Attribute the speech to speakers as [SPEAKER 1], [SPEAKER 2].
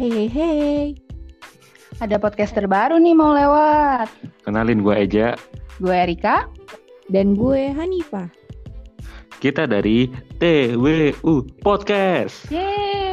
[SPEAKER 1] Hey, hey, hey.
[SPEAKER 2] Ada podcaster baru nih mau lewat.
[SPEAKER 3] Kenalin gue Eja,
[SPEAKER 2] Gue Erika.
[SPEAKER 1] Dan gue Hanifah.
[SPEAKER 3] kita dari TWU Podcast.
[SPEAKER 2] Yeay.